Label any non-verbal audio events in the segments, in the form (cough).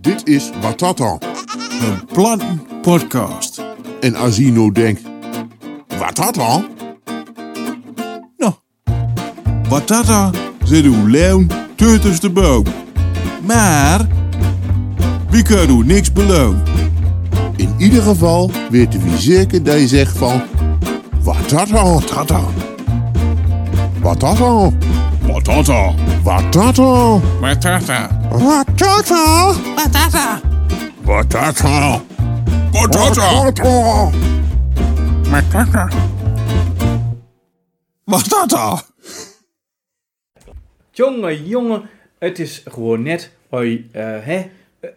Dit is Watata. Een plantenpodcast. En Azino denkt, Watata? Nou, Batata zit uw leun tussen de boom. Maar, wie kan u niks beloon? In ieder geval weten we zeker dat je zegt van, Watata, tata. Watata, Batata. watata, Batata. watata, Batata. watata, Batata. watata. Batata. Batata. Jongen, jongen, het is gewoon net. Hoi, eh, hè?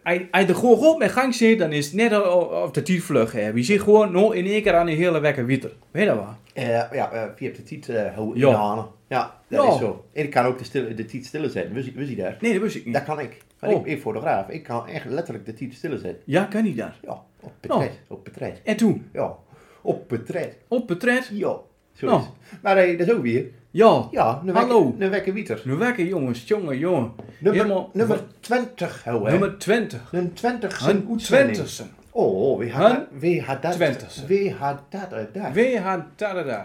Als als je er gewoon op met gang zit, dan is het net of of de tiet vlug hè. Je zit gewoon nou in één keer aan een hele wekker wieter. Weet je dat waar? Eh, ja, eh, via op de tiet eh houden Ja. in de hanen. Ja, dat Ja. is zo. En ik kan ook de, stille, de tiet stille zetten. Wist je daar? Nee, dat wist ik niet. Dat kan ik. Want Oh. ik ben fotograaf. Ik kan echt letterlijk de tiet stille zetten. Ja, kan niet daar. Ja, op portret. Oh. Op portret. En toen, Ja, op portret. op portret. Ja, zo Nou. is het. Maar eh, dat is ook weer. Ja, Ja, een wekker- Hallo. Een wekker wieter. nu wekker jongens, jongen, jongen. Nummer, Helemaal- nummer 20 houden. hè. nummer 20. Een 20 zijn Hun uitzending. twintigsten. Oh, oh, wie had Hun dat? Wie had dat? twintigste. Wie had dat? eh, daar? We gaan tada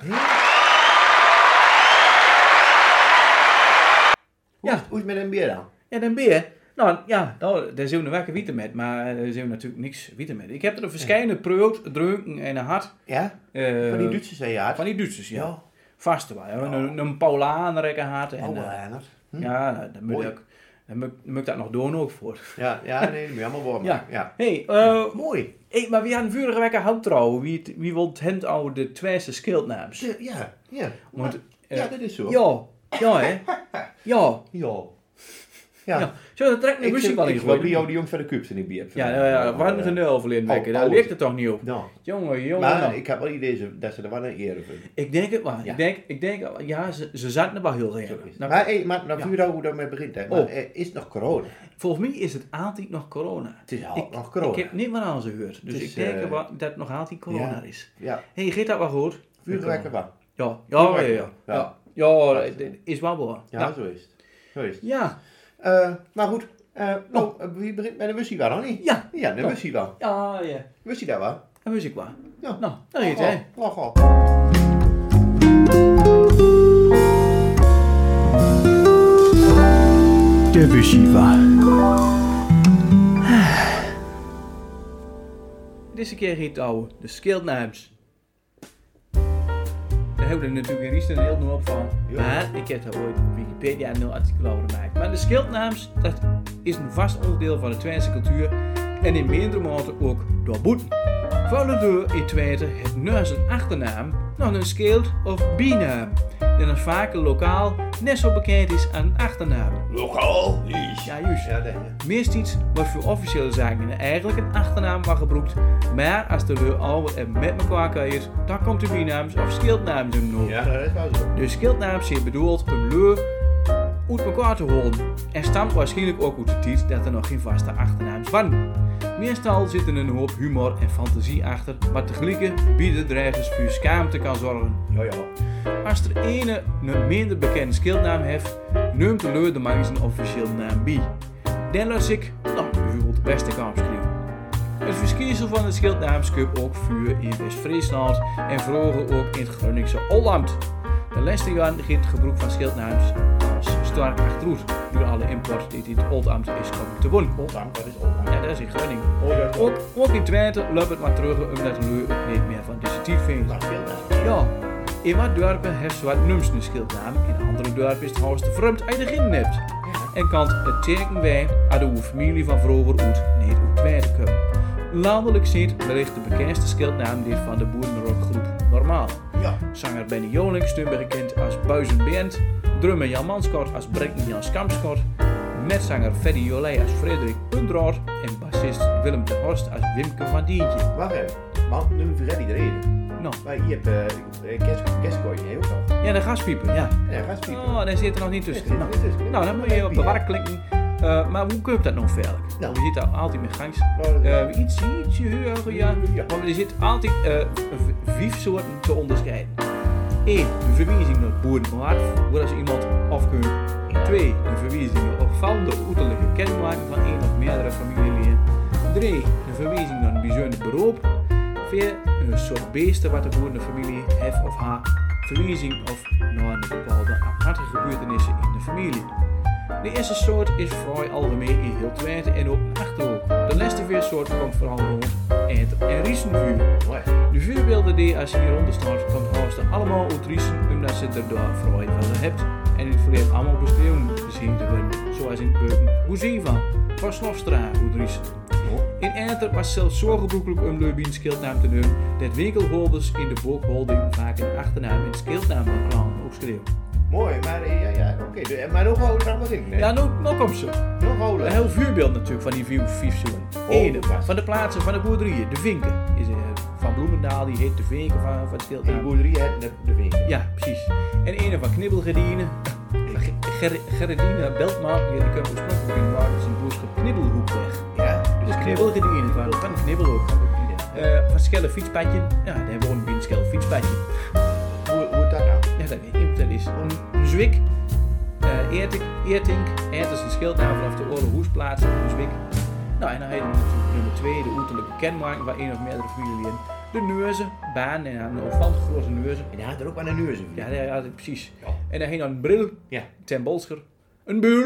Ja, Hoe is het met een bier dan? Ja, dan ben je. Nou, ja, nou, daar zijn we wakker wieten met, maar eh, daar zijn we natuurlijk niks wieten met. Ik heb er een verschijnen preut, drunken en een hart. Ja? eh, Van die Duitse zei je Van had. die Duitsers, ja. Ja. Vaste wel. ja. Een, een Paulaanrekker had. En, Oh, eh, Lennart. Hm? ja, nou, dan moet Mooi. ik, dan moet ik- dan moet ik dat nog doen ook voor. Ja, ja, nee, dat moet je allemaal warm Ja. maken. Ja. hey, eh, Mooi. hey, maar wie had een vorige week een houttrouw? Wie, het- wie wil het oude de tweede schildnaams? Ja, ja. ja. Want, eh, ja, dat is zo. Ja, ja (laughs) hè. Ja, Ja. ja. Ja. Zo, dat trekt Ik een muziek wel in. Ik wil jou die jong van de kubs in die bier. Ja, ja, ja, warm genul verleden week. Oh, Daar oh, ligt het toch niet op. Nou, Jongen, jongen. maar ik heb wel idee ze- dat ze er wel een eer voor Ik denk het wel. Ja. Ik denk, ik denk, ja, ze, ze zaten er wel heel erg. Maar, Nou, hey, maar nou, vuur hoe dat mee begint, hè. Maar, Oh. eh, is het nog corona? volgens mij is het altijd nog corona. Het is al Ik- nog corona. Ik heb niet meer aan ze gehoord. Dus Het is, ik denk eh, wel dat het nog altijd corona ja. is. Ja, Hé, hey, gaat dat wel goed? vuurwerken wel. Ja, ja, ja. Vuurwerken. Ja, Ja. ja. ja dat- dat is wel waar. Ja, Ja. zo is het. Zo is het. Ja, Eh, maar goed, eh, nou, eh, wie begint met een wussie wel, of niet? ja. Nou. Ja, de wussie wel. Ja, ja. Wussie daar wel. Dat wist ik wel. Ja. Nou, dat is het, hè. Lach al. De Bushiva. Deze keer heet het oude, de Skildnames. Daar hebben we er natuurlijk in Riesen een heel hoop van. Ja. Maar ik heb daar ooit op Wikipedia een heel artikel over gemaakt. Maar de Skildnames, dat is een vast onderdeel van de Twentse cultuur. En in mindere mate ook door boeten. Voldoende in Twente het naast een achternaam nog een schild of binaam. Die dan vaak lokaal net zo bekend is aan een achternaam. Lokaal is. Ja, juist. Ja, dat ja. Meest iets wat voor officiële zaken eigenlijk een achternaam wordt gebruikt, maar als de leur al wat er met elkaar kuiert, dan komt de bijnaams of schildnaam zo noemen. Ja, Eh, dat is wel zo. De schildnaam is bedoeld om leur uit elkaar te horen en stamt waarschijnlijk ook uit de tijd dat er nog geen vaste achternaams waren. Meestal zit er een hoop humor en fantasie achter, maar tegelijk bieden dreigers voor schaamte kan zorgen. Ja, ja. Als er ene een minder bekende skillnaam heeft, neemt de leur de man zijn officieel naam bij. Dan laat ik, nou, bijvoorbeeld de beste kamp schrijven. Het verschijnsel van het schildnaam schuift ook vuur in West-Friesland en vroeger ook in het Groningse Ollamt. De laatste jaren gaat het gebruik van schildnaams als sterk achteruit door alle import die in het Ollamt is komen te wonen. Oldham, dat is Oldham. Ja, dat is in Groningen. Oh, dat is Ook, ook in Twente loopt het maar terug omdat de leur het niet meer van deze tijd vindt. Dat scheelt wel. Ja, in wat dorpen heeft zwart nums een schildnaam, in andere dorpen is het trouwens te vreemd als je er geen hebt. En kan het teken wij aan de oe familie van vroeger uit niet uit wijden komen. Landelijk ziet wellicht de bekendste schildnaam dit van de boerenrockgroep Normaal. Ja. Zanger Benny Jonik, stemmer bekend als Buizen Band, drummer Jan Manskort als Brekken Jan Skamskort, netzanger Ferry Jolij als Frederik Pundraad en bassist Willem de Horst als Wimke van Dientje. Wacht even. Want nu vergeet iedereen. Nou, Maar je hebt eh, eh, kerst- kerstkooi, nee, ook nog. ja, de gaspiepen, ja. Ja, ga spieken. Oh, daar zit er nog niet tussen. Nou, nou, dan moet je op de warm. wark klinken. Eh, maar hoe komt dat nou verder? Nou. We zitten altijd met gangs. Nou, dat- Eh, iets, iets hoger, ja. Ja. Want er zit altijd eh, v- vijf soorten te onderscheiden. 1. De verwijzing naar boerenmaat, waar als iemand afkeurt. 2. De verwijzing naar opvallende uiterlijke kenmerken van één of meerdere familieleden. 3 een verwijzing naar een bijzonder beroep. 4 een soort beesten wat de gewone familie heeft of haar verwijzing of naar een bepaalde aparte gebeurtenissen in de familie. De eerste soort is vrij algemeen in heel Twente en ook in Achterhoek. De laatste vier soort komt vooral rond Eend en Riesenvuur. De vuurbeelden die als je hieronder staat, komt haast allemaal uit Riesen omdat ze er daar vrij van hebt. En in het verleden allemaal beschreven zien te worden, zoals in Beuken Boeziva, van Slofstra uit Riesen. In Eenter was zelfs zo gebruikelijk om Leubien schildnaam te noemen dat winkelholders in de boekholding vaak een achternaam en schildnaam van klanten opschreeuwen. Mooi, maar eh, ja, ja, oké. De- Maar nog houden er wat in. hè? Ja, nou, nou komt ze. Nog eh, Een houden. heel vuurbeeld natuurlijk van die vier, vier zoenen. Ene dat was- van de plaatsen van de boerderijen, de Vinken. Is, eh, van Bloemendaal, die heet de Vinken van, van het In de schildnaam. boerderij hè, de, de winkel. Ja, precies. En ene van Knibbelgerdine. Ge- Ger- Gerardine Beltman, die kwam oorspronkelijk in Waarden zijn boerschap Knibbelhoek weg. Ja, Dus Knibbelgerdine van, van Knibbelhoek. Eh van Schelle fietspadje. Ja, daar woont een Schelle fietspadje. Hoe, hoe dat nou? Ja, dat weet ik niet wat dat is. Een zwik, eh eertink, eertink, eert is een schildnaam vanaf de oorlogsplaats, een zwik. Nou, en dan heb je natuurlijk nummer twee, de uiterlijke kenmerken waar één of meerdere familieleden de neuzen, baan en een opvallend grote neuzen. En hij had er ook maar een uur zo. Ja, dat ja, dat- precies. Ja. En dan heb je dan een bril, Ja. ten bolsker, een buur,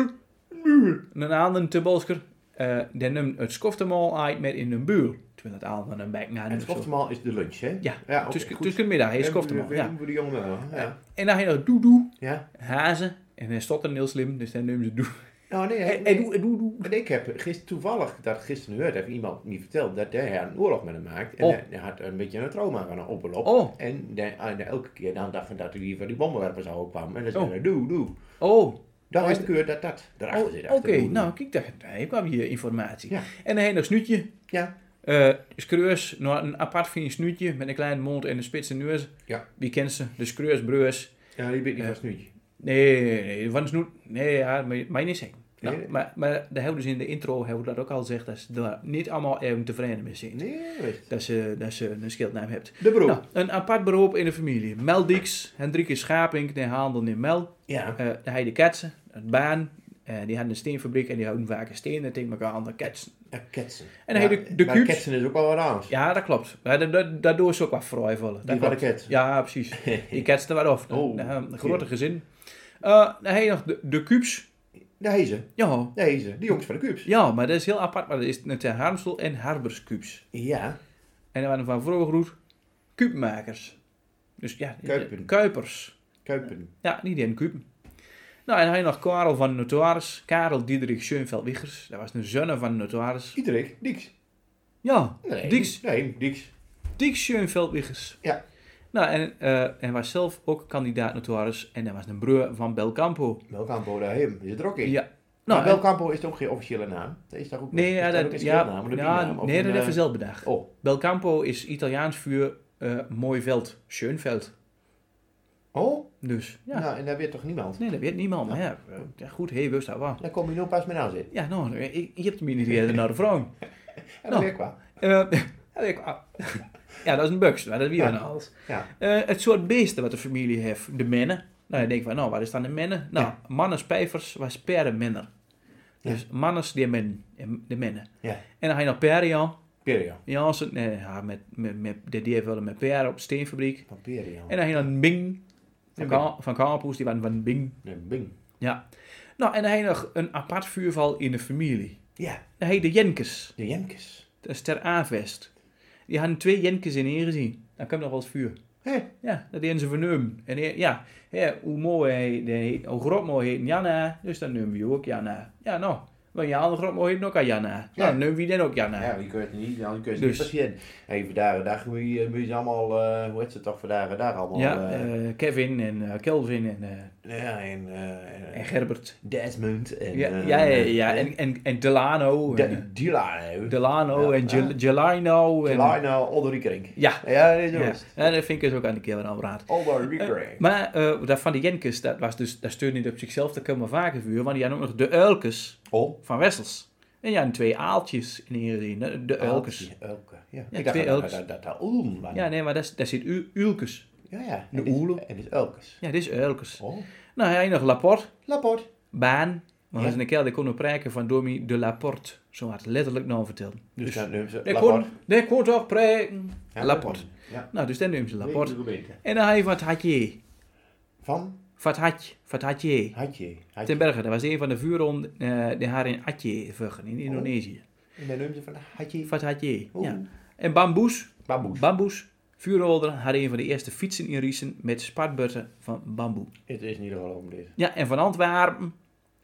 een buur, en een ander ten bolsker. eh dan neemt het schoftemal uit met in een buur. Terwijl het aan van een bek naar En het een zo. schoftemal is de lunch, hè? Ja, ja oké, tussen, goed. tussen de middag, hij Ja, schoftemal. we- Ja. we- Voor de jongen wel. hè? Ja. En dan heb je nog doedoe. ja. hazen. En hij stond er heel slim, dus dan nemen ze doe. Nou, nee. hij- En doe, en doe, doe. En ik heb gisteren toevallig dat gisteren gehoord, heeft iemand me verteld dat hij een oorlog met hem maakt. En Oh. hij, hij had een beetje een trauma van een oploop. Oh. En hij- hij- elke keer dan dacht hij dat hij hier van die bommenwerpers zou kwam. En dan Oh. zei hij, doe, doe. Oh, Dan Oh, is is de keur dat dat erachter oh, zit. oké. achter doe, doe. Nou, kijk, daar, daar kwam hier informatie. Ja. En dan heen een snuitje. Ja. eh skreus, nou een apart fijn snuitje met een kleine mond en een spitse neus. Ja. Wie kent ze? De skreus, breus. Ja, die ben ik Ja. vast nu. Nee, nee, nee, van een snoet. Nee, ja, maar mij niet zeggen. Nou, Nee. maar, maar daar hebben we dus in de intro hebben we dat ook al gezegd, dat ze daar niet allemaal even tevreden mee zijn. Nee, weet Dat, ze, dat ze een schildnaam hebt. je. De broer. Nou, een apart beroep in de familie. Mel Dieks, Hendrikje Schaping, de handel in Mel. Ja. eh de Heide Ketsen, een baan. eh, die hadden een steenfabriek en die houden vaak stenen tegen elkaar aan de ketsen. En eh, ketsen. En hij Maar- de- de maar kuut. ketsen is ook wel wat anders. Ja, dat klopt. Maar da- da- daardoor is ook wat fraai vallen. Dat Die waren klopt. kets. Ja, precies. (laughs) Die ketsen er wat af. Oh, Eh, een ja. grote gezin. Eh dan heb je nog de, de Cubes. Deze. Ja. Deze. Die jongens van de Cubs. ja, maar dat is heel apart. Maar dat is het zijn Harmsel en Harbers Cubes. Ja. En dat waren van vroeger goed kuubmakers. Dus ja, Kuipen. kuipers. Kuipen. Ja, niet in Kuipen. Nou, en dan heb je nog Karel van Notaris. Karel Diederik Schoenveld-Wiggers. Dat was een zoon van Notaris. Iedereen. Diks. Ja, Nee. Diks, Nee, Diks. Dick Schoenveldwiggers. Ja. Nou, en, eh, en was zelf ook kandidaat notaris. En hij was een broer van Belcampo. Welkampo daar hem. Is het er ook in? Ja. Nou, Nou, en- Belcampo is toch geen officiële naam? Dat is daar ook nee, is ja, daar dat, ook een ja, schildnaam, een ja, binaam, of nee, een, dat eh, heeft hij zelf bedacht. Oh, Belcampo is Italiaans voor eh, mooi veld. Schoenveld. oh? Dus, ja. Nou, en daar weet toch niemand? Nee, dat weet niemand. Maar ja, eh, ja, goed, hé, hey, wist dat wel. Dan kom je nu pas mee aan zitten. Ja, nou, ik, je hebt hem niet eerder naar de vrouw. (laughs) En dan Nou. weer qua. Eh, (laughs) ja, ik- ah. ja, dat is een bugs, maar dat wie Ja. dan alles. Ja. Eh, het soort beesten wat de familie heeft, de mennen. Nou, je denkt van, nou, waar is dan de mennen? Nou, mannen spijvers was perenmenner. Dus mannen die men, eh, de mennen. Ja. En dan ga je naar Perian. Perian. Jansen, nee, ja, met, met, met, de die willen met peren op de steenfabriek. Van Perian. En dan ga je naar Bing. Van, Bing. Ka- van Kampus, die waren van Bing. Nee, Bing. Ja. Nou, en dan heb je nog een apart vuurval in de familie. Ja, Dan heb je de Jenkers. de Jemkes. Dat is ter aanvest. Die hadden twee jenkes in één gezien. Dan kwam nog wel eens vuur. Hé. Ja, dat deden ze vernemen. En hij- ja, hè, hoe mooi hij, de, heet- hoe groot mooi heet Janna, dus dan noemen we je ook Janna. Ja, nou. Maar je andere groot mooi heet ook aan Janna. Nou, Ja. dan noemen we je dan ook Janna. Ja, Ja. die kun je het niet, nou, die kun je het Dus- niet passeren. Hey, vandaag de dag moet je, moet je ze allemaal, eh, hoe heet ze toch, vandaag de dag allemaal. eh, eh, Kevin en eh, Kelvin en, eh, ja, en, eh, en Gerbert. Desmond. En, Ja, eh, ja, ja, ja. En, en, en Delano. De- en, eh, Delano. Delano Ja. en Gel- Gelino. en- Delano Olderikering. Ja, Ja, dat is ja. juist. En dat vind ik dus ook aan de keer wel aanraad. Olderikering. Maar eh, dat van de Jenkes, dat was dus, dat steunde niet op zichzelf, dat kwam maar vaker vuur, want die hadden ook nog de Uilkes Oh. van Wessels. En die hadden twee aaltjes in hier gezien, hè, de Uilkes. Elke, ja. Ja, ik dacht twee dat- Elkes. dat dat dat Ulm was. Ja, nee, maar daar is- daar zit U- Uilkes. ja, ja. de En dit- Oelen. En dit is Elkes. Ja, dit is Uilkes. Oh. Nou, hij nog Laporte, Laporte. Dus Baan, Want als in de kelder kon ik praten van Domi de Laporte. Zo had het letterlijk nou verteld. Dus Dus dat noemen ze ik kon, Laporte. ik kon toch praten. Ja, Laporte. Ja. Nou, dus dan noemen ze Laporte. Weet je beter. En dan had je wat had je. Van Wat had je? Wat had je? Hatje. Hatje. Ten Berge, dat was een van de vuurronden eh, die haar in Atje vuggen in Indonesië. En dan noemen ze van Hatje. Wat had je? Oeh. Ja. En Oh. bamboes. Bamboes. Bamboes. Vuurholder had een van de eerste fietsen in Riesen met spatbutten van bamboe. Het is niet gelopen deze. Ja, en van Antwerpen,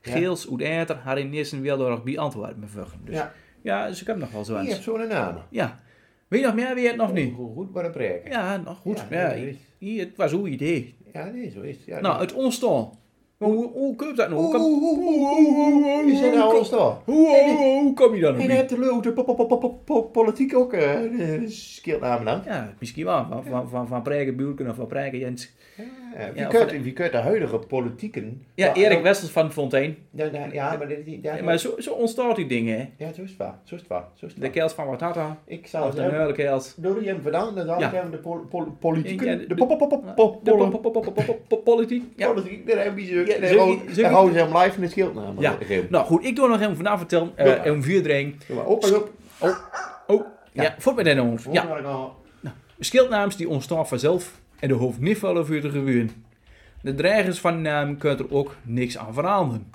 Ja. Geels, Oedeter, haar in Nissen Wildorg bij Antwerpen met vuggen. Dus ja. Ja. dus ik heb nog wel zo Je hebt zo'n naam. Ja. Weet je nog meer weer nog niet? Goed, goed maar een prik. Ja, nog goed. Ja, Oh, Ja, nee, dat is- hier, het was hoe idee. Ja, nee, zo is het. Ja, Nou, nee. het ontstaan. Maar Hoe, hoe kun je dat nou? Hoe Oeh, kom- oeh, oeh, oeh, oeh, hoe- oeh, is het nou hoe- alles toch? hoe- hoe- oh, hoe- hoe kom je nou dan nog En dan bij? heb je de leeuw, de po- po- po- po- po- po- politiek ook eh, eh, scheelt namen dan. Ja, misschien wel. Van, van, van, van Prijkenbuurken of van Prijken Jens. Ja, Ja, Wie of kunt- de- wie kunt de huidige politieken... Ja, Nou, Erik ook- Westels van Fontein. Ja, ja, ja, maar dit is niet... Ja, Ja, maar zo, zo ontstaat die dingen, hè. ja, zo is het wel. Zo is het wel. Zo is het De wel. kels van Watata. Ik zou Of het de hebben. Neulenkels. Door die hem vandaan, dan Ja. hebben we de pol- pol- Ja, politieken... de- De po- po- po- po- po- De po- pol- po- po- po- po- po- po- politiek. Ja. politiek, daar hebben ze... Ja, daar zullen- houden- zullen- Daar houden ze hem live in de schildnaam. Ja. Nou goed, ik doe nog even vanavond vertellen. Doe eh maar. een vierdring. Doe maar op, pas op. Oh, ja, voort met hen ons. Nou, Ja. Ja. Schildnaams die ontstaan vanzelf en er hoeft niet veel over te gebeuren. De dreigers van de naam kunnen er ook niks aan veranderen.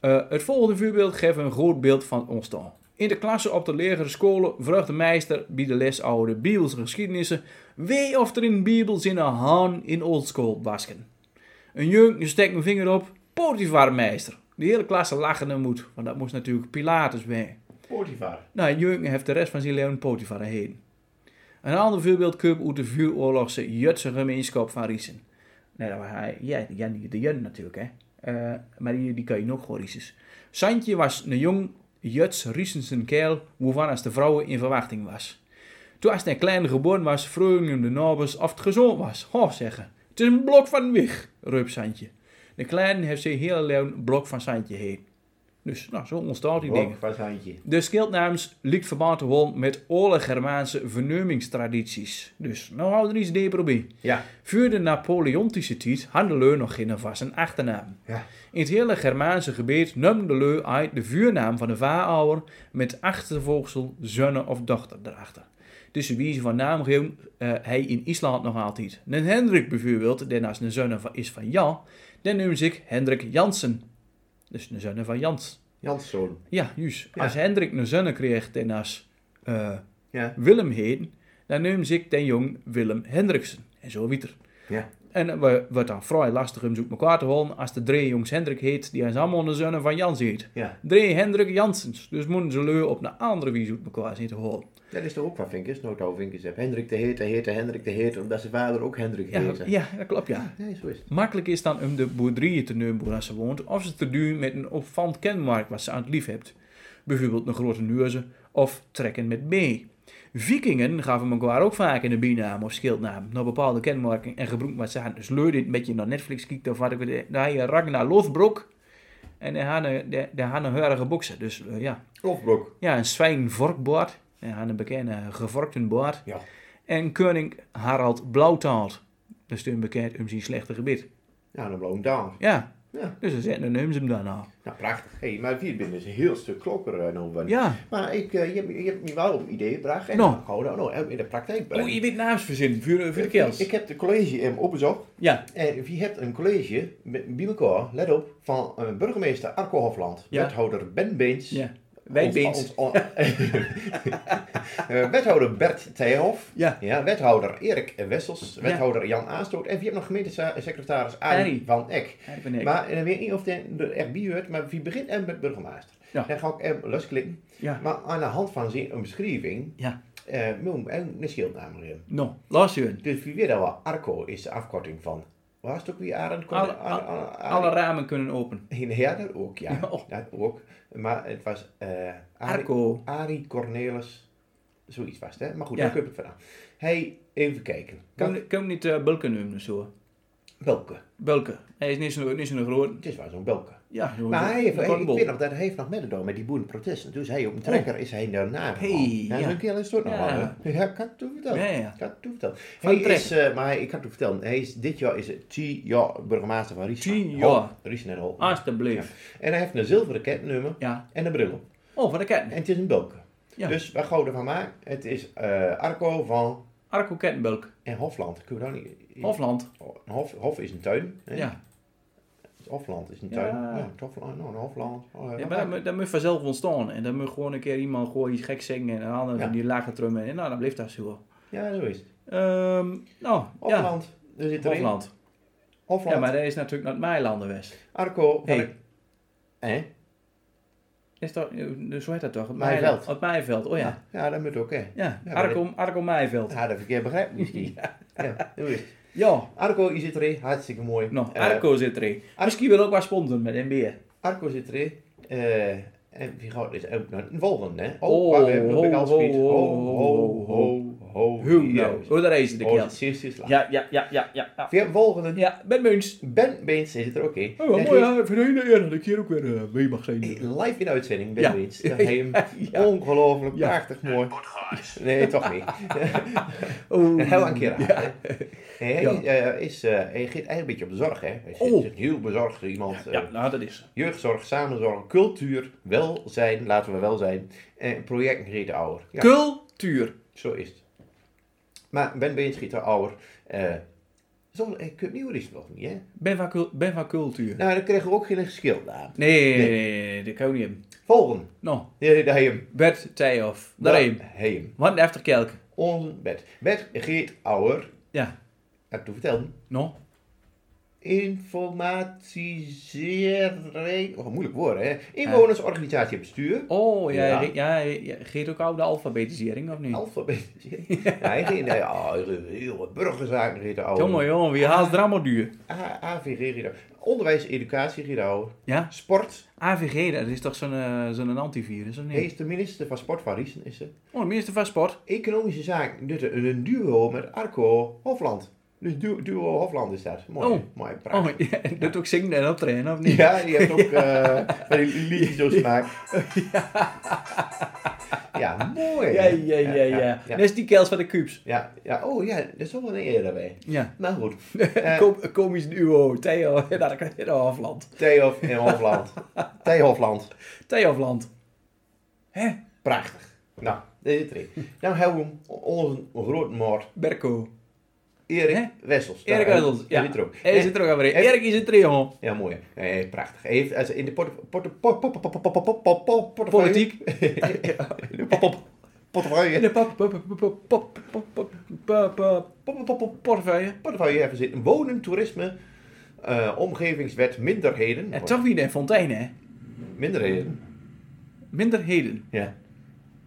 Eh, het volgende voorbeeld geeft een groot beeld van het ontstaan. In de klasse op de lagere scholen vraagt de meester bij de les oude Bijbelse geschiedenissen wie of er in Bijbels in een haan in oldschool basken. Een jong steekt een vinger op, Potifar meester. De hele klasse lachen en moet, want dat moest natuurlijk Pilatus bij. Potifar. Nou, Jurgen heeft de rest van zijn leven Potifar heen. Een ander voorbeeld komt uit de vuuroorlogse Jutse gemeenschap van Riesen. Nee, dat was hij. Ja, die- ja, die- de Jun natuurlijk, hè. Eh, maar die, die kan je nog gewoon Rieses. Santje was een jong Juts Riesensen kerel, waarvan als de vrouwen in verwachting was. Toen als hij klein geboren was, vroegen hem de nabers of het gezond was. Ho, zeggen. Het is een blok van weg, reup Santje. De kleine heeft zijn hele leven blok van Santje heen. Dus, nou, zo ontstaan die dingen. Blok, fazantje. De schildnaams liet verband te worden met alle Germaanse verneumingstradities. Dus nou houden er iets dieper bij. Ja. Voor de Napoleontische tijd hadden de Leu nog geen vaste achternaam. Ja. In het hele Germaanse gebied nam de Leu uit de vuurnaam van de vaarouder met achtervolgsel zonne of dochter erachter. Dus wie ze van naam geven, eh, hij in Island nog altijd. Een Hendrik bijvoorbeeld, die naast een zonne van, is van Jan, dan noemen ze ik Hendrik Jansen. Dus een zonne van Jans. Janszoon. Ja, juist. Ja. Als Hendrik een zonne kreeg en als eh, Ja. Willem heen, dan noemde ik den jong Willem Hendriksen. En zo weer. Ja. En het wa- wordt dan vrij lastig om zoek elkaar te houden als de drie jongens Hendrik heet, die als allemaal de zonne van Jans heet. Ja. Drie Hendrik Jansens. Dus moeten ze leu op een andere wie zoek elkaar zien te houden. Dat is toch ook van Vinkers, Noto Vinkers. heeft Hendrik de Heete, Heete, Hendrik de Heete, omdat zijn vader ook Hendrik Ja, heette. ja, dat klopt ja. Nee, zo is het. Makkelijk is dan om de boerderijen te nemen waar ze woont, of ze te doen met een opvallend kenmerk wat ze aan het lief hebt. Bijvoorbeeld een grote neuze of trekken met B. Vikingen gaven elkaar ook vaak in de bijnaam of schildnaam, naar bepaalde kenmerken en gebruik wat ze hadden. Dus leur dit met je naar Netflix kijkt of wat ik weet. Daar had je Ragnar Lothbrok en daar hadden daar- daar hadden heurige boksen. Dus eh, ja. Klofblok. ja, een zwijnvorkbaard, daar hadden een bekende gevorkten baard. Ja. En koning Harald Blauwtaald, dat is toen bekend om zijn slechte gebit. Ja, dan bloem down. Ja. Ja. Dus ze zetten een neemt hem daarna. Nou, prachtig. Hé, maar vier binnen is een heel stuk klokker eh, nou van. Ja. Maar ik, eh, je, hebt, je hebt me wel een idee gebracht. En Nou. nou. Hou nou, nou, in de praktijk Oh, je brengen. weet naamsverzin voor, voor de kels. Ik heb de college hem opgezocht. Ja. En wie hebt een college met- bij elkaar, let op, van eh, burgemeester Arco Hofland, Ja. wethouder Ben Beens, Ja. Wijnbeens. Ons- ons- on- (laughs) Eh, wethouder Bert Theehoff. Ja. Wethouder Erik Wessels. Wethouder Jan Aanstoot. En wie hebt nog gemeentesecretaris Arie. Arie van Eck. Arie van Eck. Maar en ik weet niet of hij er echt bij hoort, maar wie begint hem met burgemeester. Ja. Dan ga ik hem losklikken. Ja. Maar aan de hand van zijn beschrijving, Ja. eh moet hem en een schildnaam geven. Nou, laat je hun. Dus wie weet dat wel, Arco is de afkorting van. Waar is het ook weer Arend? Kon- Alle, Ar- alle, Ar- alle ramen kunnen open. in Herder ook, ja. Ja, oh. Dat ook. Maar het was eh Arie- Arco. Arie Cornelis. Zoiets was het, hè? Maar goed, Ja. daar kun je het vandaan. Hey, even kijken. Kan, Kan, kan niet eh Bulken noemen zo. Belke. Bulken. Hij is niet zo'n niet zo groot. Het is wel zo'n Belke. Ja, joh, Maar dat- hij heeft, dat ik kan wel. weet nog dat hij heeft nog met door met die boerenprotesten. Dus hij op een trekker is hij daarna. Oh. Hey, gegaan. ja. ja. Een keer is het ook nog Ja. wel. hè? Ja, ik kan het toen vertellen. Ja, ja. Ik kan het toen vertellen. Van Hij de trekker. is, eh, maar hij- ik kan het toen vertellen. Hij is, dit jaar is het 10 jaar burgemeester van Riesen. Tien jaar. Hol. Riesen en Ah, Hol. Alsjeblieft. En hij heeft een zilveren kettingnummer Ja. en een bril op. Oh, van de En ketting. het is een bulke. Ja. Dus waar gaan we ervan maken? Het is eh, Arco van Arco Kettenbulk. en Hofland. Kunnen we dan niet... Hofland. Een Hof, hof is een tuin. hè? Ja. Het Hofland is een Ja. tuin. Ja, het Hofland. Nou, een Hofland. Oh, Ja, maar dat, moet- dat moet vanzelf ontstaan. En dan moet gewoon een keer iemand gewoon iets geks zingen. En een ander Ja. die lage trummen. En nou, dan blijft dat zo. Ja, zo is het. Ehm, nou, ja. Hofland. Er zit erin. Hofland. Hofland. Ja, maar dat is natuurlijk naar het Meilanden West. Arco van... Hey. de- Hè? Is dat, dus hoe heet dat toch? Het Meiveld. Meiveld. Het Meiveld, oh ja. Ja. ja, dat moet ook, hè. Ja, Ja, maar Arco, Arco Meiveld. Dat had ik verkeerd begrepen misschien. (laughs) ja. zo is het. Ja, Arco, je zit erin. Hartstikke mooi. nou, Eh, Arco zit erin. Misschien wil ook wat sponsoren met NBR. Arco zit erin. Eh, en wie gaat dit ook naar een volgende, hè? Oh, waar we hebben nog ho, een ho, kans ho, Ho, ho, ho, ho, ho. Hoe Ja, nou? Hoe daar is het de Oh, keld. serieus is laat. Ja, ja, ja, ja, ja. ja. Weer volgende. Ja, Ben Muns. Ben Beens zit er ook in. Oh, En mooi die- hè, voor de eer dat ik hier ook weer eh, mee mag zijn. Live in de uitzending, Ben Ja. Beens. (laughs) Dat hij hem Ja. ongelooflijk Ja. prachtig mooi... Nee, toch niet. (laughs) Oh. Heel een keer aan. hè. Nee, hij Ja. eh, is, eh, hij geeft eigenlijk een beetje op de zorg, hè. Hij is, Oh. is een heel bezorgd iemand. eh, Ja, nou dat is. jeugdzorg, samenzorg, cultuur, welzijn, laten we wel zijn. En project Greta Ouwer. Ja, Cultuur. zo is het. Maar Ben Beens, Greta Ouwer... eh zo, ik heb nieuw is het nog niet, hè? Ben van, cul- ben van cultuur. Nou, dan kregen we ook geen geschil aan. Nee, nee, nee, nee, dat kan ik niet hebben. Volgende. Nou, Ja, Daar hem. Bert Tijhoff. Daarheen. Daar hem. Wat een efterkelk. Onze bed. Bed Geert Ouwer, Ja, heb ik toen verteld, nou. informatisering. Oh, moeilijk woord, hè? Inwonersorganisatie en bestuur. Oh, ja, Ja. ja. ja, ja, geeft ook oude alfabetisering, of niet? (laughs) Alfabetisering. Hij ging daar, ah, heel wat burgerzaken, Geert Ouwer. Jongen, jongen, wie haalt er allemaal duur? A- AVG, Geert Ouwer. Onderwijs, educatie, Geert Ouwer. Ja? Sport. AVG, dat is toch zo'n eh, zo'n antivirus, of Hij niet? is de minister van Sport van Riesen, is ze. Oh, de minister van Sport. Economische zaken, dus een een duo met Arco Hofland. Dus du- duo Hofland is dat. Mooi, Oh. mooi, prachtig. Oh, ja, dat ook zingen en optreden, of niet? Ja, die heeft ook eh van die liedjes zo smaak. Ja, mooi. ja, ja, ja. ja. ja. Dat is die kels van de Cubes. Ja, ja, oh ja, er is ook wel een eer daarbij. Ja. Maar goed, Eh. Kom, komisch duo, Theo en Hofland. Theof en Hofland. Theo Hofland, Theo Hofland. Hè? prachtig. Nou, dit is erin. Nou hebben we onze grote moord, Berko. Erik Hè? Wessels. Erik Daar, Uidels, ja. Hij zit er ook. Hij zit er ook aan weer in. Erik is in triomf. Ja, mooi. Eh, prachtig. Hij heeft eh, in de porte- porte- po- po- po- po- po- po- po- po- portefeuille- Politiek. In de po- po- In portefeuille. de pop, pop, pop, pop, pop, pop, pop, pop, pop, pop, pop, pop, portefeuille. portefeuille even zitten. Wonen, toerisme, eh, omgevingswet, minderheden. En toch weer de fontein, hè? Minderheden. Minderheden. Ja.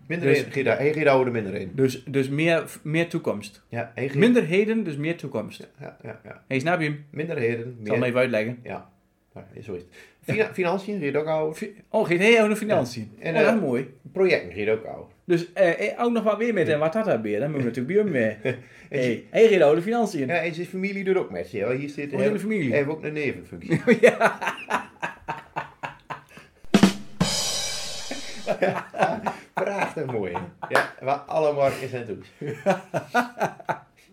Minderheden. Dus- Gerda, hey, Gerda oude minderheden. Dus, dus meer, meer toekomst. Ja, hey, Gerda- Minderheden, dus meer toekomst. Hé, ja, ja, ja. hey, snap je hem? Ik Minderheden. zal hem Meer, even uitleggen. ja. ja, zo is het. Fina- Financiën, Gerda ook oude. Fi- Oh, geeft hij ook nog financiën. En, oh, dat eh, is mooi. Projecten, Gerda ook oude. Dus eh, eh, ook nog wat weer met en wat dat daar weer. Dan moeten we natuurlijk bij (laughs) hem mee. Hé, hey, geeft ook de financiën. Ja, en zijn familie doet ook met ze. ja. Hier zit Oh, hele familie. Hij heeft ook een nevenfunctie. (laughs) (laughs) Prachtig mooi. hè? Ja, waar alle markten zijn toe.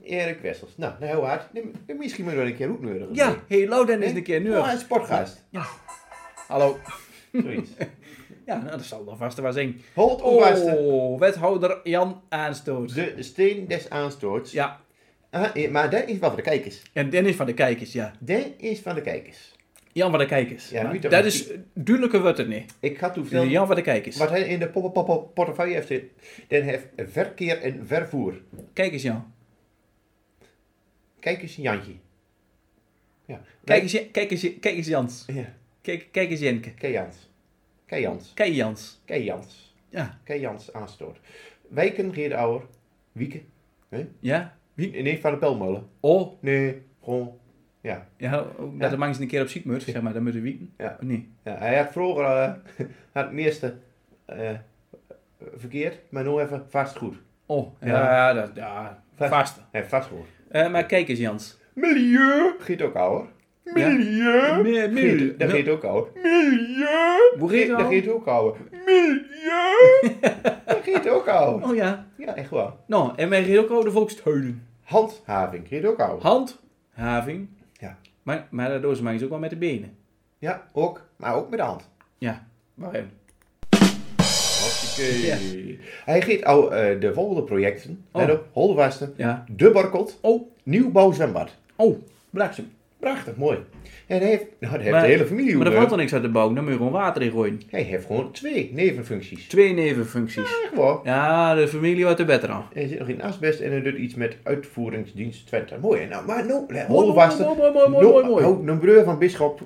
Erik Wessels. Nou, nou heel hard. Nee, maar Misschien moeten we een keer ook nodig. Ja, hey, Louden is een keer nu. Oh, een sportgast. (laughs) Hallo. Zoiets. Ja, nou, dat zal nog vast wel zijn. Holt onvaste. Oh, wethouder Jan Aanstoot. De steen des aanstoots. Ja, Ah, eh, maar dat is wel van de kijkers. en Dennis van de Kijkers, ja. Dat is van de kijkers. Jan van de Kijkers. Ja, Maar niet dat dat- is duidelijke wordt het niet. Ik ga toen Dus vertellen Jan van de Kijkers. wat hij in de pop- pop- pop- portefeuille heeft zitten. Dan heeft verkeer en vervoer. Kijk eens Jan. Kijk eens Jantje. Ja. Kijk eens, Ja- kijk eens, Ja- kijk eens Jans. Ja. Kijk, kijk eens Jenke. Kei Jans. Kei Jans. Kijk Jans. Kei Jans. Ja. Kei Jans aanstoot. Wijken, Geerdouwer. Wieken. Ja? Wie? Nee, van de Pelmolen. Oh. Nee, gewoon. Ja. Ja, oh, dat de man eens een keer op ziek moet, zeg maar. Dan moet de wieken. Ja. Of niet? ja hij had vroeger eh, (laughs) had het meeste eh, verkeerd, maar nu even vastgoed. Oh. Ja, Ja. dat, ja. Vast. vast. Hij heeft vastgoed. Eh, maar kijk eens Jans. Milieu. Giet ook ouder. Ja? Milieu. Meer, Geet- meer. Dat Wel- geeft ook oud. Milieu. Hoe geet Ge- het nou? Dat al? geeft ook oud. (laughs) Milieu. Dat geeft ook oud. Oh ja. Ja, echt waar. Nou, en wij reden ook over de volksteunen. Handhaving geeft ook oud. Handhaving. Ja. Maar, maar dat doen ze maar eens ook wel met de benen. Ja, ook. Maar ook met de hand. Ja. Wacht even. Hartstikke. Ja. Hij geeft al eh, de volgende projecten. Oh. Let op. Holdewasten. Ja. De Barkelt. Oh, Nieuwbouw zwembad. oh, bliksem. Prachtig, mooi. En hij heeft, nou, hij heeft Maar- de hele familie Maar er eh, valt er niks uit de bouw, dan moet je gewoon water in gooien. Hij heeft gewoon twee nevenfuncties. Twee nevenfuncties. Echt waar. Ja, de familie wordt er beter aan. En er zit nog in asbest en hij doet iets met uitvoeringsdienst Twente. Mooi, hè? nou, maar nou, let- Mooi, hold vast. mooi, mooi, mooi, mooi, mooi, mooi. Nou, een breur van bisschop.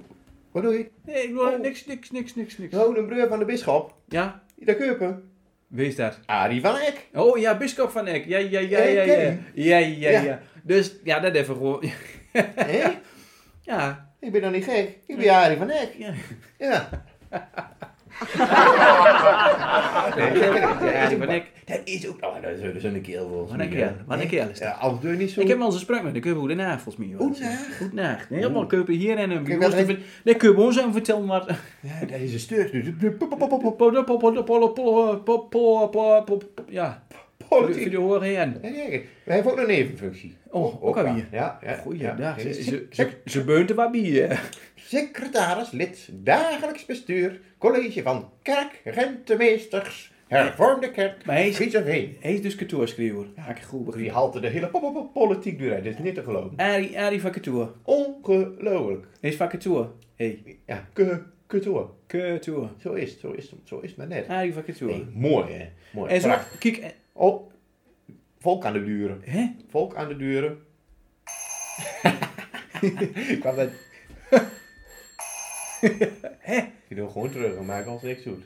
Wat doe je? Nee, ik wil Oh. niks, niks, niks, niks, niks. Nou, een breur van de bisschop. Ja, Daar keupen. wees dat. Arie van Eck. Oh ja, Bisschop van Eck. Ja, ja, ja, Ja, ik ja, ken ja. hem. Ja, ja, Ja. ja. Dus ja, dat even gewoon. (laughs) Hé? Ja, Ik ben dan niet gek. Ik ben Arie van Eck. ja. Ja. Arie van Eck. Dat is ook... Oh, dat is, dat is een keel volgens Wat een mij, kerel, hè? wat een kerel is dat. Ja, anders doe je niet zo... Ik heb al eens een spraak met de Keupen hoe de naag volgens mij. hoor. Hoe naag? Hoe naag. Oh. Nee, helemaal Keupen hier en een Kijk, bureau. wat te ver- Nee, Keupen ons aan vertellen, maar. (laughs) Ja, dat is een steur. Dus- Ja, Politiek. jullie horen heen. Ja, kijk, Hij heeft ook een nevenfunctie. Oh, ook ja. alweer. Ja, ja. Goeiedag. ja. Ze, ze, ze, ze beunt er wat bij, hè. Secretaris, lid, dagelijks bestuur, college van kerk, rentemeesters, hervormde kerk, Maar hij is- Friesenveen. Hij is dus kantoorschreeuwer. Ja, ik goed Die begrepen. halte de hele po- po- po- politiek door. Dit is niet te geloven. Arie, Arie van kantoor. Ongelooflijk. Hij is van kantoor. Hé, Ja, ke, ketoor. kantoor. Zo is het, zo is het, zo is het maar net. Arie van kantoor. Nee, mooi hè, mooi. en zo, Prachtig. kijk, eh, Oh, volk aan de duren. hè? Volk aan de duren. Ik kwam met... Ik doe gewoon terug en maak ons niks goed.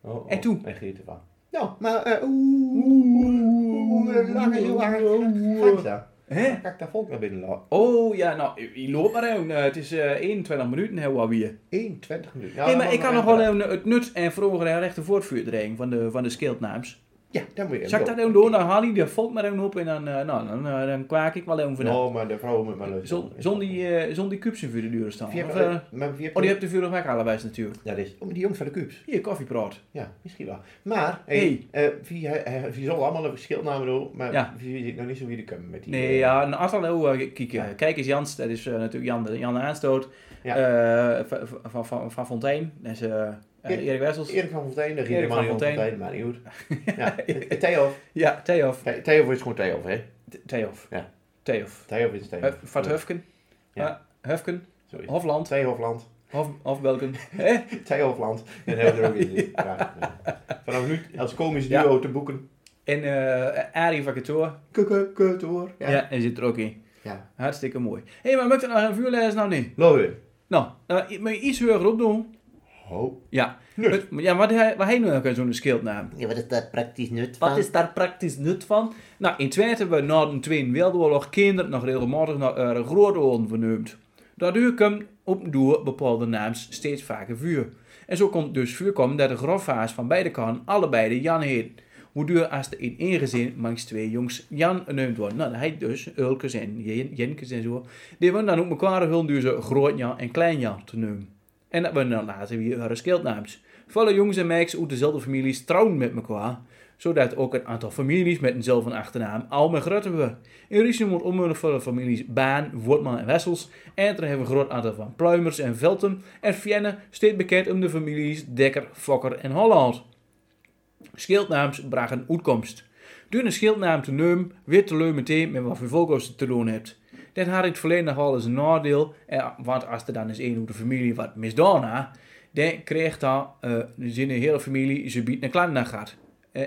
Oh, oh. En toen? Hij geeft ervan. Nou, maar... eh, Oeh, oeh, oeh, lange jongen. Ga ik daar? Hè? Ga ik daar volk naar binnen lopen? Oh ja, nou, je- je loopt maar even. Eh, Het is eh 21 minuten, hè, wat weer. 21 minuten. Hé, Nou, maar dan ik kan nog gaan we wel even het nut en vroeger en rechte voortvuurdering van de, van de skildnaams. Ja, dan moet je Zal ik dat even doen? Dan haal ik de volk maar even op en dan, eh, nou, dan, eh, dan kwaak ik wel even vanaf. Nou, maar de vrouw moet maar luisteren. Zonder die, eh zon die cupsen voor de deur staan. Vier- Of, eh, eh, maar vier- oh, die hebt de vurig weg allebei natuurlijk. Ja, dit is... Oh, die jongen van de Cubes. Hier, koffiepraat. Ja, misschien wel. Maar, Hey. hey, eh wie, eh, wie zal allemaal een verschilnaam doen, maar Ja. wie weet ik nog niet zo wie de kan met die... Nee, eh, ja, een aantal eeuwen kijken. Ja. Kijk eens Jans, dat is eh, natuurlijk Jan, de- Jan de Aanstoot. Ja. Eh, van, van, van, van Fontijn. Dat is eh, eh, Erik- Erik Wessels. Erik van Fontein, dat ging Erik helemaal niet van om Fonteyn. Fontein, maar niet goed. (laughs) Ja, eh, Theof. Ja, Theof. Th- Theof is gewoon Theof, hè? Th- Theof. Ja. Theof. Theof is Theof. Hu- Eh, Van Hufken. Ja. Ja. Hufken. Zo is het. Hofland. Theofland. Hof, Hofbelken. Hè? Theofland. En heel er ook in. (laughs) Ja. Vanaf nu als komisch duo te boeken. En eh Arie van Katoor. Kukukuktoor. Ja. Ja. hij zit er ook in. ja. Hartstikke mooi. Hé, hey, maar mag ik dat nog een vuurlijst nou niet? Lowe. Nou, nou, moet je iets hoger opdoen? Ho. Ja. Nut. Het- Ja, wat hij, wat hij nu ook aan zo'n schildnaam? Ja, wat is daar praktisch nut van? Wat is daar praktisch nut van? Nou, in Twente hebben we na de Tweede Wereldoorlog kinderen nog regelmatig naar hun grootouders vernoemd. Daardoor komt op door bepaalde naams steeds vaker vuur. En zo komt dus vuur komen dat de grofvaars van beide kanten allebei de Jan heet. Hoeduur als er in één gezin mangs twee jongs Jan genoemd worden. Nou, hij dus Ulkes en Jen- Jenkes en zo. Die worden dan ook elkaar hun dus groot Jan en klein Jan te noemen. En dat worden dan later weer hun schildnaams. Vele jongens en meisjes uit dezelfde families trouwen met elkaar zodat ook een aantal families met eenzelfde achternaam al met groter worden. In Riesen wordt omwille van de families Baan, Wortman en Wessels. En er hebben we een groot aantal van Pluimers en Velten. En Vienne steeds bekend om de families Dekker, Fokker en Holland. Schildnaams bragen uitkomst. Door een schildnaam te nemen, weet te leu meteen met wat voor volkosten te doen hebt. Dit had in het verleden nog wel eens een nadeel, eh, want als er dan eens één uit de familie wat misdaan had, dan kreeg dan eh zijn hele familie ze biedt een klant naar gaat. Eh,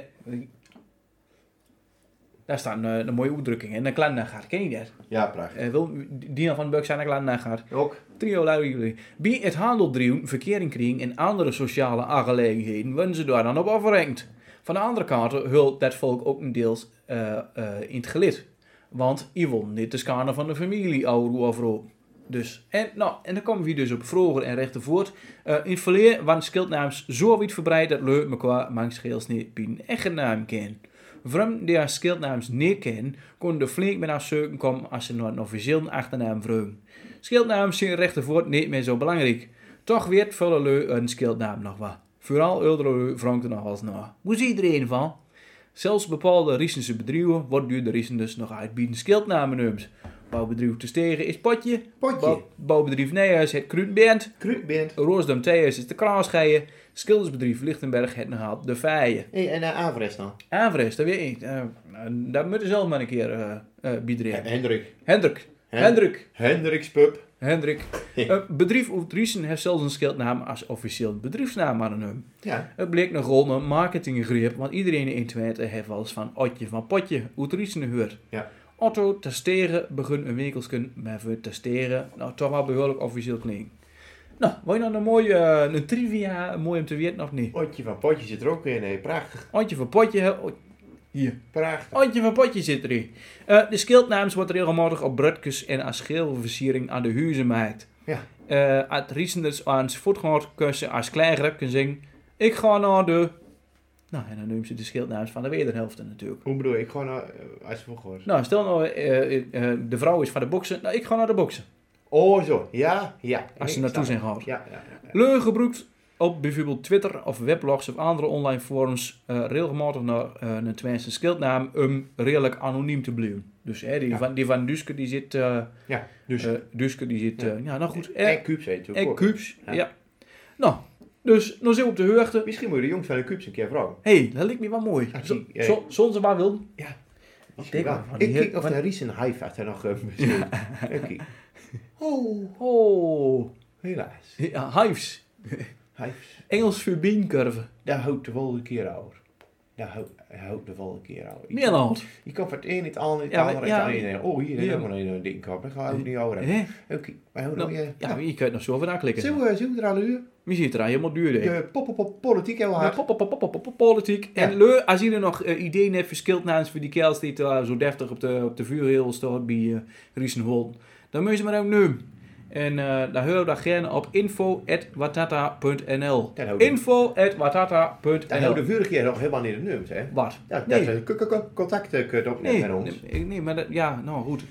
daar staat een, eh, een mooie uitdrukking, hè, een klant naar gaat, ken je dat? Ja, prachtig. Eh, wil Dina van den Burg zijn een klant naar gaat. Ook. Trio Lauwjuli. Bij het handeldrieven, verkering kring en andere sociale aangelegenheden worden ze daar dan op afgerekend. Van de andere kant hult dat volk ook een deels eh, eh, in het gelid. Want je wil niet de schanen van de familie ouwe afro. Dus, en, nou, en dan komen we dus op vroeger en rechter voort. Eh, in het verleden waren schildnaams zo wijd verbreid dat leu elkaar mangs geels niet bij een echte naam kennen. Vrouwen die haar schildnaams niet kennen, konden er flink met haar zoeken komen als ze naar een officieel achternaam vroegen. Schildnaam zijn rechtervoort niet meer zo belangrijk. Toch werd veel leu een schildnaam nog wat. Vooral oudere leu wrongt er nog wel eens naar. Hoe ziet iedereen van? Zelfs bepaalde Riesense bedrijven wordt duur de Riesen dus nog uitbieden schildnamenums. Bouwbedrijf Te Stegen is Potje. Potje. Bouw- bouwbedrijf Nijhuis het Kruidband. Kruidband. Roosdam Theus is de Kraasgeien. Schildersbedrijf Lichtenberg het nog haalt de Vijen. Hey, en eh Averes dan? Averes, dat weet ik. Eh, nou, daar moet je zelf maar een keer eh eh, bieden. Hendrik. Hendrik. Hendrik. Hendrik's pub. Hendrik. Een bedrijf of Driesen heeft zelfs een schildnaam als officieel bedrijfsnaam aan hun. Ja. Het bleek nog gewoon een marketinggreep, want iedereen in Twente heeft wel eens van Otje van Potje uit Riesen gehoord. Ja. Otto Testeren begon een winkelsken met voor Testeren, nou toch wel behoorlijk officieel klinkt. Nou, wou je nou een mooie eh, een trivia, mooi om te weten of niet? Otje van Potje zit er ook in. eh, Hey, prachtig. Otje van Potje, hè? Ot- hier. Prachtig. Antje van Potje zit erin. Eh, de schildnaams wordt regelmatig op broodjes en als schilversiering aan de huizen gemaakt. Ja. Eh, als Riesenders aan zijn voetganger kussen als klein rapje zingen. Ik ga naar de... Nou, en dan noemen ze de schildnaams van de wederhelften natuurlijk. Hoe bedoel je? Ik gewoon eh, als je vroeger was. Nou, stel nou, eh, eh, eh, de vrouw is van de boksen. Nou, ik ga naar de boksen. Oh zo. Ja, ja. Als ze Ik naartoe sta- zijn gehaald. Ja, ja, ja. Leugen gebruikt op bijvoorbeeld Twitter of weblogs of andere online forums eh, regelmatig naar eh, een Twentse schildnaam om redelijk anoniem te blijven. Dus hè, die, Ja. van, die van Duske die zit... eh, Ja, dus. Eh, Duske die zit, Ja. ja, ja nou goed. en En, Cubes heet het en ook. Cubes, Ja. ja. Nou, dus nog zijn we op de heugte. Misschien moet je de jongens van de Cubes een keer vragen. Hé, hey, dat lijkt me wel mooi. Ah, Zo- die, eh. zo- Zonder ze maar wil. Misschien denk wel. maar, want Ik die kijk heel- of de Riesen Hive had er nog eh, misschien. Oké. Oh, Oh, helaas. ja, hives. Hives. Engels voor beenkurven. Daar houdt de volgende keer over. Daar houdt, houdt de volgende keer over. Je kan- Nederland. Je kan van het een niet aan, het Ja, maar- andere ja, het andere. Oh, hier ja. hebben we nog een ding kap. Daar gaan we ook niet over hebben. Hè? Oké, maar hoe Nou, doe je? ja, Nou, je kunt nog zo over aanklikken. Zullen we, zullen we er aan de uur? Je ziet er al helemaal duur in. De pop op politiek heel Maar hard. pop, pop, pop, pop, pop, pop, Politiek. Ja. En leu, als je er nog eh, ideeën hebt voor schildnaams voor die kerels die daar zo deftig op de, op de vuurheel staat bij eh Riesenholm, dan moet je ze maar ook nemen. En eh daar hoor je dat gerne op info.watata.nl. Dan houden we- Daar Info.watata.nl. houden we Nou, de vorige keer nog helemaal niet de nummers, hè? Wat? Ja, dat eh, Nee. nee. contacten kunt opnemen Nee, met ons. nee, nee, maar dat, ja, nou goed.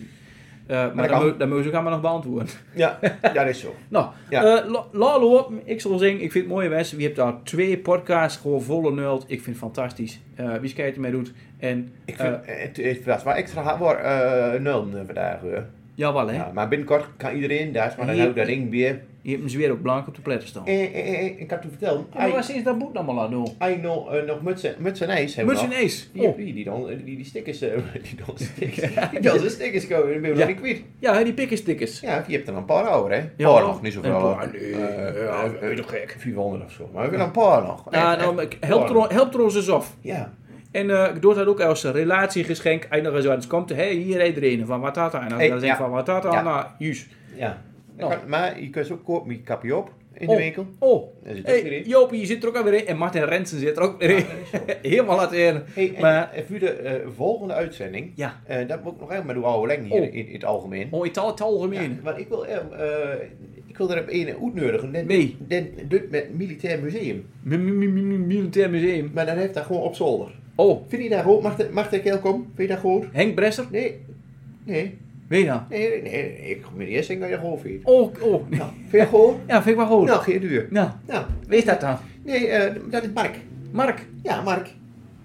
Eh, maar kan. dan moet- dan moet je ze ook allemaal nog beantwoorden. Ja, (laughs) ja, dat is zo. Nou, Ja. ja. Lalo, ik zal zeggen, ik vind het mooie mensen. We hebben daar twee podcasts gewoon volle nul. Ik vind het fantastisch. Eh wie kijkt ermee doet. En Ik eh, vind, het, het was wel extra hard voor eh nul eh, vandaag. Hoor. Jawel, hè? Ja, maar binnenkort kan iedereen daar, maar dan Hier- houdt dat ding weer. Je hebt hem zweer ook blank op de pletten staan. Eh, eh, eh, eh, ik had toen verteld, maar waar is dat boek dan maar aan doen? hij nog, eh, nog mutsen, mutsen ijs hebben we Muts en nog. Ace. Die, Oh. die, die, dan, eh, die, die stickers, eh, (laughs) die dan stickers, die dan zijn stickers komen, dan ben je Ja. nog niet kwijt. Ja, hè, die pikkerstikkers. Ja, je hebt er een paar over, hè? Ja, paar wel. nog, niet Een zoveel. paar, nee. Eh, Ja, eh, dat is toch gek. 400 of zo, maar we hebben er een paar nog. Ja, Echt, nou, echt. ik- help er, help er ons eens af. Ja, En eh, ik doe dat ook als een relatiegeschenk. En nog eens uit komt. Hé, hey, hier rijdt er een van Watata. En dan Hey, zeg ik ja. van Watata nou, Ja. naar Juus. ja. Dat Nou. kan- maar je kunt ze ook kopen met je kapje op in de Oh. winkel. Oh, Daar zit ook weer hey, in. Ah, Jopie, je zit er ook alweer in. En Martin Rensen zit er ook weer in. (laughs) Helemaal laat in. Hey, en, Maar- en voor de eh, volgende uitzending, Ja. eh, dat moet ik nog even maar doen, oude leng hier Oh. in, in het algemeen. Mooi taal, taal Ja, gemeen. want ik wil, eh, eh, ik wil er op een uitnodigen. Den, Nee. den- doet met Militair Museum. Mi- mi- mi- mi- Militair Museum. Maar dan heeft dat gewoon op zolder. Oh, Vind je dat goed? Mag, dat- mag dat heel komen? Vind je dat goed? Henk Bresser. Nee. Nee. Weet je nou? Nee, nee, nee. Ik kom hier eerst en kan je gewoon vinden. Oh, oh. Nou, vind je dat goed? Ja, vind ik wel goed. Nou, geen duur. Nou, Nou, weet dat dan. nee, eh, dat is Mark. Mark. Ja, Mark.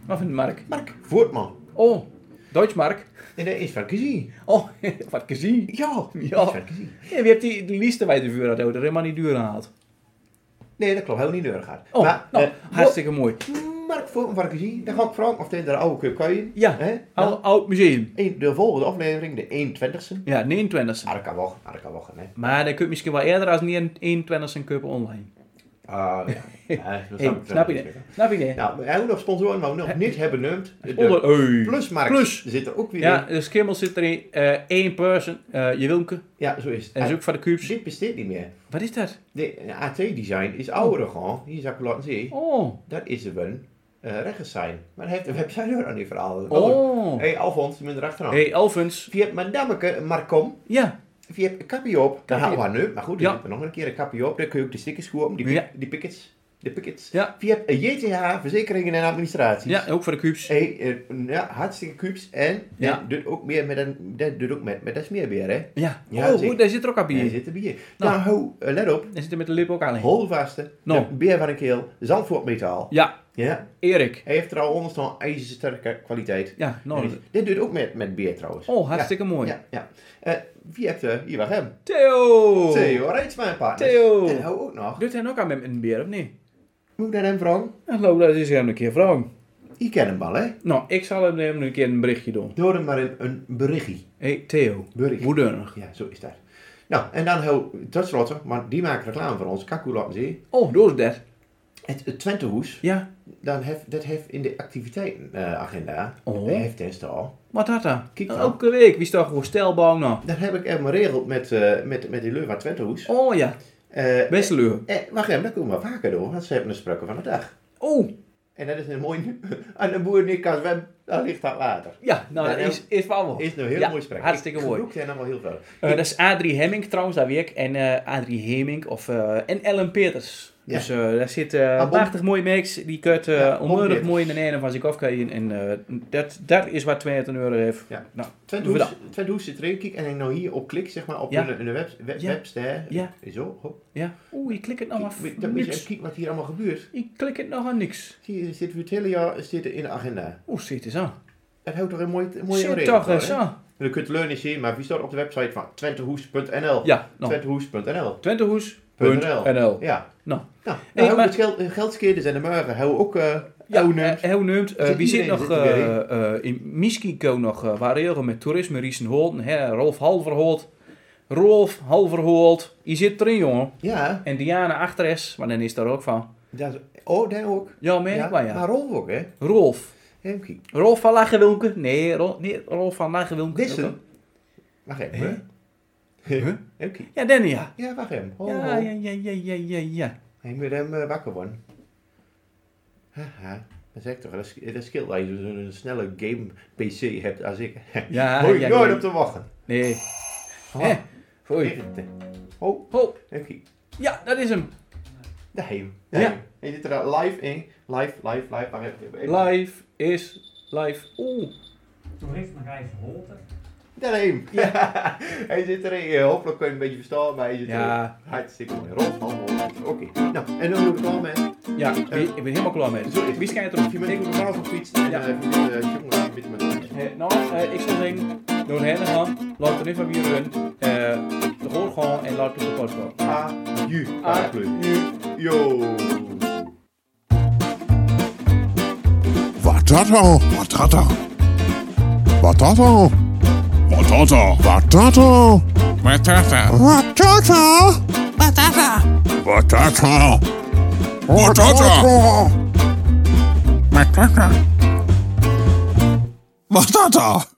Wat vindt Mark? Mark Voortman. Oh, Deutschmark. En dat is van gezien. Oh, (laughs) wat gezien. Ja. Ja. Van gezien. Ja, wie hebt die, die liefste bij de vuur dat er helemaal niet duur aan had? Nee, dat klopt. Heel niet nodig gaat. Oh, maar, nou, eh, hartstikke mooi. Mark Voortman van gezien. Dan ga ik vragen of hij de oude cup kan je. Ja, Hè? Nou. Oud, oud museum. Eén- de volgende aflevering, de Ah, 21ste. Ja, 29 Arka wacht, Arka wacht, hè. Maar dan kun je misschien wel eerder als niet een 21ste kopen online. Ah, (laughs) ja. ja. dat Hey, snap je wel. dat? Snap je dat? Nou, we hebben nog sponsoren, maar we nog niet hebben noemd. De Onder, hey. Plusmarkt Plus. zit er ook weer Ja, in. de schimmel zit erin. eh één person, eh je wilke. Ja, zo is het. En zoek van de Ah, cubes. Dit besteedt niet meer. Wat is dat? De AT-design is ouder gewoon. Hier zou ik laten zien. Oh, Dat is er een eh rechts zijn. Maar hij heeft de website ook nog niet verhaald. oh. Hé, hey, Alfons, je bent erachteraan. Hey, Elvens. Via madameke Marcom, Ja, via kapje op. Daar Kappie. houden we aan nu, maar goed, er Ja. zit er nog een keer een kapje op. Dan kun je ook de stickers kopen, die, pik- Ja. die pickets. De pakket. Ja. Via JTH, Verzekeringen en Administratie. Ja, ook voor de kubus. Hey, eh, ja, hartstikke cubes. En Ja. dat doet ook meer met een, dat doet ook met, met dat smeerbeer, hè? Ja. Ja, oh, zeker. daar zit er ook aan Hier bier. zit er bier. Nou. Nou, hou, eh, let op. Daar zit er met de lip ook aan. heen. Hol vaste. Nou. De Beer van een keel. Zandvoortmetaal. Ja, Ja. Erik. Hij heeft er al onder staan ijzersterke kwaliteit. Ja, En nou. dit- Dit doet ook met, met bier trouwens. Oh, hartstikke ja. mooi. Ja, ja. Eh, wie hebt eh, hier wel hem? Theo! Theo, Rijtsma partners. Oh. Theo. En hou ook nog. Doet hij ook aan met een bier, of niet? Moet ik naar hem vragen? Ik geloof dat is hem een keer vragen. Ik ken hem wel, hè? Nou, ik zal hem hem een keer een berichtje doen. Door hem maar een, een berichtje. Hé, hey, Theo. Bericht. Moederig. Ja, zo is dat. Nou, en dan heel, tot slotte, maar die maken reclame voor ons, Kakulatzee. Oh, door dat. Het, het Twentehoes, Ja, dan hef, dat heeft in de activiteitenagenda, Oh. dat heeft het al. wat had dat? Kijk dan. Elke week, wie staat gewoon stelbouw nou? Dan heb ik hem geregeld met, eh, met, met die leur van Twentehoes. Oh ja, Eh, best leuk. eh, wacht even, dat komen we vaker door, want ze hebben een sprake van de dag. Oh, En dat is een mooi, (laughs) aan een boer die kan zwemmen, dan ligt dat water. ja, nou dat Nou, is, is wel mooi. Is een heel Ja, mooi sprake. hartstikke mooi. Ik zijn allemaal heel veel. Eh, dat is Adrie Hemming trouwens, daar werk. En eh, Adrie Hemming of, eh, en Ellen Peters. Ja. Dus eh, daar zit eh Ah, Bom. prachtig mooie merks. Die kunt eh Ja, Bom onnodig Peters. mooi in de ene van zich afkijken. En eh, dat, dat is wat 22 euro heeft. Ja. Nou, Twentehoes Twentehoes zit erin, kijk, en ik nou hier op klik, zeg maar, op Ja. hun- hun web, web, Ja. webster. Ja. Zo, hop. ja. Oeh, je klikt het nou Kijk, maar we- f- Dan moet je even niks. kijken wat hier allemaal gebeurt. Ik klik het nog aan niks. Zie je, zit voor het hele jaar zit in de agenda. Oeh, zit eens aan. Dat houdt toch een mooi, een mooie Zit reden toch voor, eens hè? aan. En dan kunt je leunen zien, maar wie staat op de website van twentehoes.nl? Ja, nou. Twentehoes.nl. Twentehoes.nl Ja. Nou, Nou, Hey, nou hey, maar- het geld, geldskeden zijn de muren. Hou ook eh Ja, oude eh, heel neemt. Eh, Zit wie zit nog iedereen zit er weer eh, eh, in Miskiko nog? eh, waar heel veel met toerisme, Riesenholt, hè, Rolf Halverholt. Rolf Halverholt, die zit erin, jongen. Ja, En Diana Achteres, maar dan is daar ook van. dat is- oh, daar ook. Ja, merk ja. wel, ja. Maar Rolf ook, hè? Rolf. Hemke. Rolf van Lagewilke? Nee, Rol, nee, Rolf van Lagewilke. Dissen. Wacht even, hè? (laughs) Hemke. Ja, Danny, ja. Ja, wacht even. Ho, Ja, ho. ja, ja, ja, ja, ja, ja. Hij moet hem eh, wakker worden. Haha, dat zeg ik toch. Dat is, dat is skill dat je zo'n een snelle game PC hebt als ik. Ja, (laughs) Hoor je ja, nooit ja. op te wachten. Nee. Oh, Hè? Oei. irritant. Oh, Ho, oké. ja, dat is hem. Daar heen. Ja. Ja. Je zit er al live in. Live, live, live. Wacht even. even. Live is live. Oeh. Toeristenbedrijf Holte. Daarheen. (laughs) hij zit erin. Eh, Hopelijk kun je een beetje verstaan, maar hij zit Ja. erin. Hartstikke mooi. Rolf van Holland. Oké. Nou, en dan moet ik al met. Ja, ik ben, ik ben helemaal klaar mee. Zo is het. Wie schijnt erop? Je bent ook nog wel gefietst. En Ja. eh, eh, jongen, je bent met Eh, nou, eh, ik zou zeggen, door hen gaan, laat er niet van wie run, eh, de goor gaan en laat het op de post komen. A, U. Ah, nu. Yo. Wat dat al? Patata. Wat dat al? Patata. Wat dat al? Patata. Wat dat al? Patata. Wat dat al? Wat dat al? Patata. Patata.